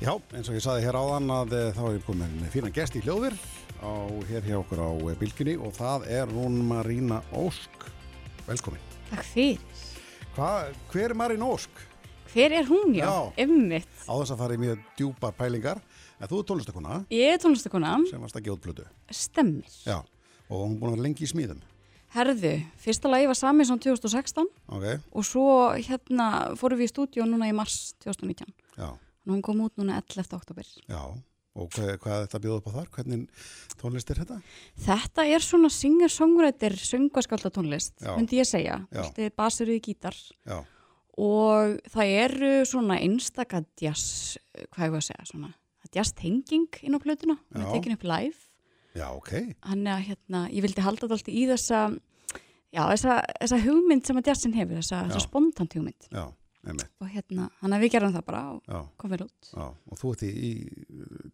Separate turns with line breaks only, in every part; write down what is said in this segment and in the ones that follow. Já, eins og ég saði hér áðan að eh, þá er ég komin með fína gest í hljóðir á hér hjá okkur á eh, bylginni og það er hún Marína Ósk. Velkomin.
Takk fyrir.
Hva, hver er Marín Ósk?
Hver er hún já?
Já.
Emmitt.
Á þess að fara í mjög djúpar pælingar, en þú er tónlistakona
Ég er tónlistakona,
sem varst að gefa út plötu.
stemmir.
Já, og hún er búin að vera lengi í smíðum.
Herðu, fyrsta lagi var samið svona 2016
Ok,
og svo hérna fórum við í stúdíu núna í mars 2019.
já,
Þannig hún kom út núna 11. oktober.
já. Og hvað, hvað er þetta að bjóða upp á þar? Hvernig tónlist er þetta?
Þetta er svona singer-songwriter söngaskáldatónlist,
Já.
myndi ég segja.
Já.
Þetta er basurðið gítar
Já,
og það eru svona einstaka jazz, hvað ég var að segja, svona jazz tenging inn á plötuna. Hún er
Já.
tekin upp live.
já, ok.
hann er að hérna, ég vildi halda þetta alltaf í þessa já, þessa, þessa hugmynd sem að jazzin hefur, þessa, þessa
Já.
spontant hugmynd
Já, einmitt,
og hérna, hann að við gerðum það bara og
já.
kom vel út.
Já, og þú ert í, í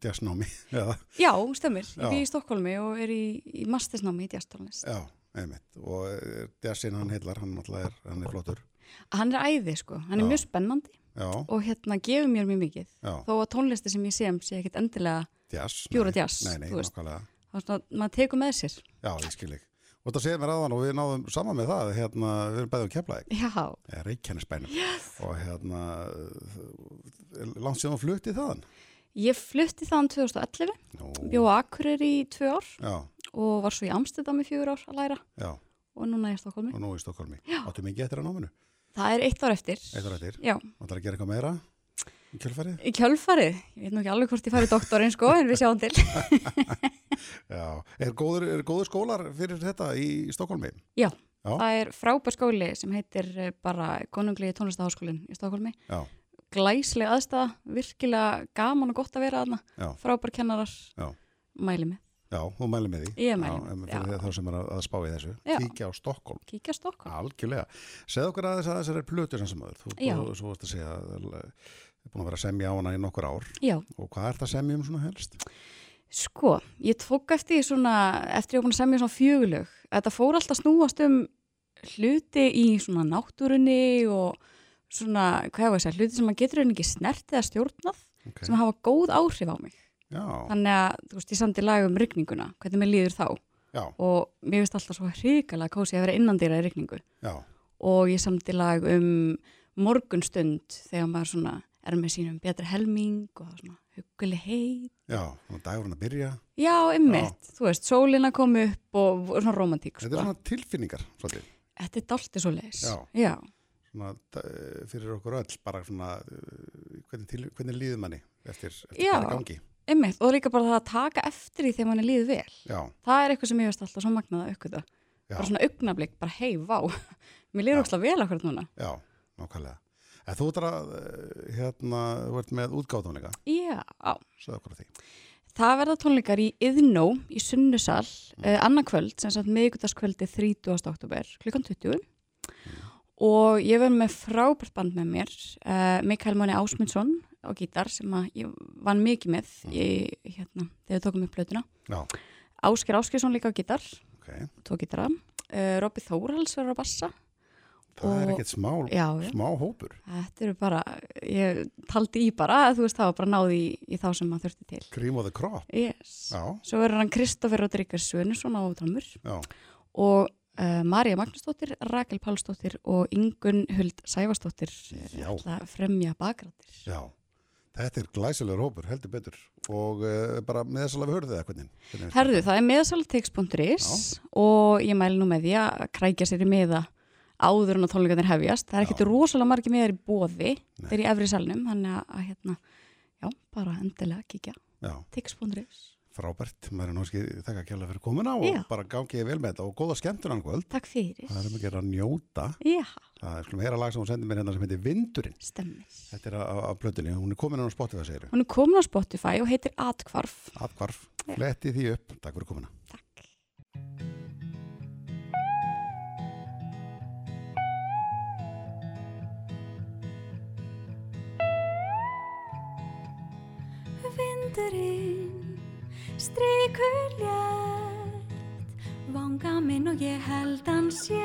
jazznámi, já,
Já, stömmir,
Já.
ég býð í Stokkólmi og er í, í mastersnámi í jazztónlist.
já, einmitt, og eh, jazzinn hann heillar, hann náttúrulega er, hann er flottur,
Hann er æði sko, hann
Já.
er mjög spennandi
já,
og hérna gefur mér mjög mikið
já,
þó að tónlisti sem ég sé um sé ekkit endilega
jazz,
Pure
nei,
jazz,
nei, nei,
þú veist.
nákvæmlega,
þá er svona, maður tekur með sér.
já, ég skil ekki, og það segir mér aðan og við náðum saman með það, hérna, við erum bæðið um keflaðið,
Já,
reykjarnisbænum, yes. og hérna, eh, er langt síðan þú flutti þaðan,
ég flutti um þaðan 2011,
Nú,
bjóð á Akureyri í tvö ár
já,
og var svo í Amstedam í fjögur ár að læra
já,
og núna er Stokkólmi.
og nú í Stokkólmi, áttu mikið eftir að náminu,
Það er eitt ár eftir.
eitthvað eftir,
Já,
og það er að gera eitthvað meira, í kjölfarið,
í kjölfarið. Ég veit nú ekki alveg hvort ég farið doktorinn sko, en við sjáum til.
já, er góður, er góður skólar fyrir þetta í Stokkólmi,
Já,
Já.
það er frábær skóli sem heitir eh, bara Konunglegi tónlistaháskólinn í Stokholmi.
já,
Glæsleg aðstæða, virkilega gaman og gott að vera aðna.
Já.
Frábær kennarar,
Já.
mæli með.
Já, þú mæli með því.
Ég mæli með,
með því.
já.
Fyrir það sem er að, að spá í þessu.
Já.
Kíkja á Stokkólm,
Kíkja á Stokholm.
algjörlega. Segð okkur aðeins að þessar er plötur sem sem öður. Þú,
Já.
þú, þú varst að segja að það er búin að vera að semja á hana í nokkur ár.
Já,
Og hvað er það að semja um svona helst?
sko, ég tók eftir því svona, eftir ég var búin að semja svona fjögulög. Þetta fór alltaf að snúast um hluti í svona náttúrunni og svona, hvað hefur ég að segja, hluti sem maður getur í rauninni ekki snert eða stjórnað
Okay.
sem hafa góð áhrif á mig.
Já,
Þannig að, þú veist, ég samdi lag um rigninguna, hvernig mér líður þá
já,
og mér finnst alltaf svo hrikalega kósi að vera innandýra í rigningu
já,
og ég samdi lag um morgunstund þegar maður svona er með sínum betra helming og það er svona huguleg heit.
já. Þannig að dagurinn að byrja.
Já, einmitt, þú veist, sólina kom upp og og svona romantík,
Þetta
sko.
er svona tilfinningar, svolítið.
Þetta er dalti svo leiðis.
Já.
Já,
Svona eh, fyrir okkur öll, bara svona, eh, hvernig, til, hvernig líður manni eftir, eftir
Já.
hvað er í gangi.
einmitt, og líka bara það að taka eftir því þegar manni líður vel.
Já,
Það er eitthvað sem ég veist alltaf svo magnað að aukvita.
Já.
Bara svona augnablík, bara hei, vá, mér líður óslega vel akkur núna.
já, nákvæmlega. En þú ert að, eh, hérna, þú ert með útgáðtónleika,
Já, á.
segð okkur að því.
Það verða tónleikar í Yðnó í Sunnusal mm. uh, annarkvöld, sem sagt miðgutaskvöldi 30. oktober klukkan 20 og ég verð með frábært band með mér uh, Mikael Máni Ásmundsson á gítar sem að ég vann mikið með í, hérna, þegar við tókum upp blötuna
Já,
Ásker Áskersson líka á gítar,
ok.
tók gítara uh, Robby Þórhals verður á bassa
Það er
Og-
ekkert smá,
Já, já,
smá hópur.
þetta eru bara ég taldi í bara, þú veist það var bara náði í, í þá sem maður þurfti til
Cream of the crop.
Yes
Já,
Svo verður hann Kristoffer Rodríguez Svönusson á drömmur
já,
og uh, Marja Magnusdóttir, Rakel Pálsdóttir og Ingun Huld Sævarsdóttir eh,
Já.
ætla að fremja bakgrátir.
já. Þetta er glæsilegur hópur, heldur betur. Og uh, bara með þess að við hörðu það hvernig. hvernig er
Herðu, það er meðsaltegs.is og ég mæli nú með því að krækja sér í meða áður en að tónleikarnir hefjast. Það er ekkert
Já.
rosalega margir meðar í bóði, þetta er í efri salnum, þannig að, að hérna, já, bara endilega kíkja.
Já,
Tix.is.
frábært. Maður er náttúrulega þakka kjærlega fyrir komuna og
Já.
bara gangið vel með þetta og góða skemmtur hann kvöld.
Takk fyrir.
Það er mikið að njóta.
Já,
Það er skulum heyra lag sem hún sendi mér hérna sem heitir Vindurinn.
stemmir.
Þetta er á- á plötunni. Hún er komin hann á Spotify, segir við.
Hún er komin á Spotify og heitir Atkvarf.
Atkvarf,
Mm. Já.
fletti því upp. Takk fyrir komuna.
Takk.
Vindurinn strykur létt Vanga minn og ég held hann sé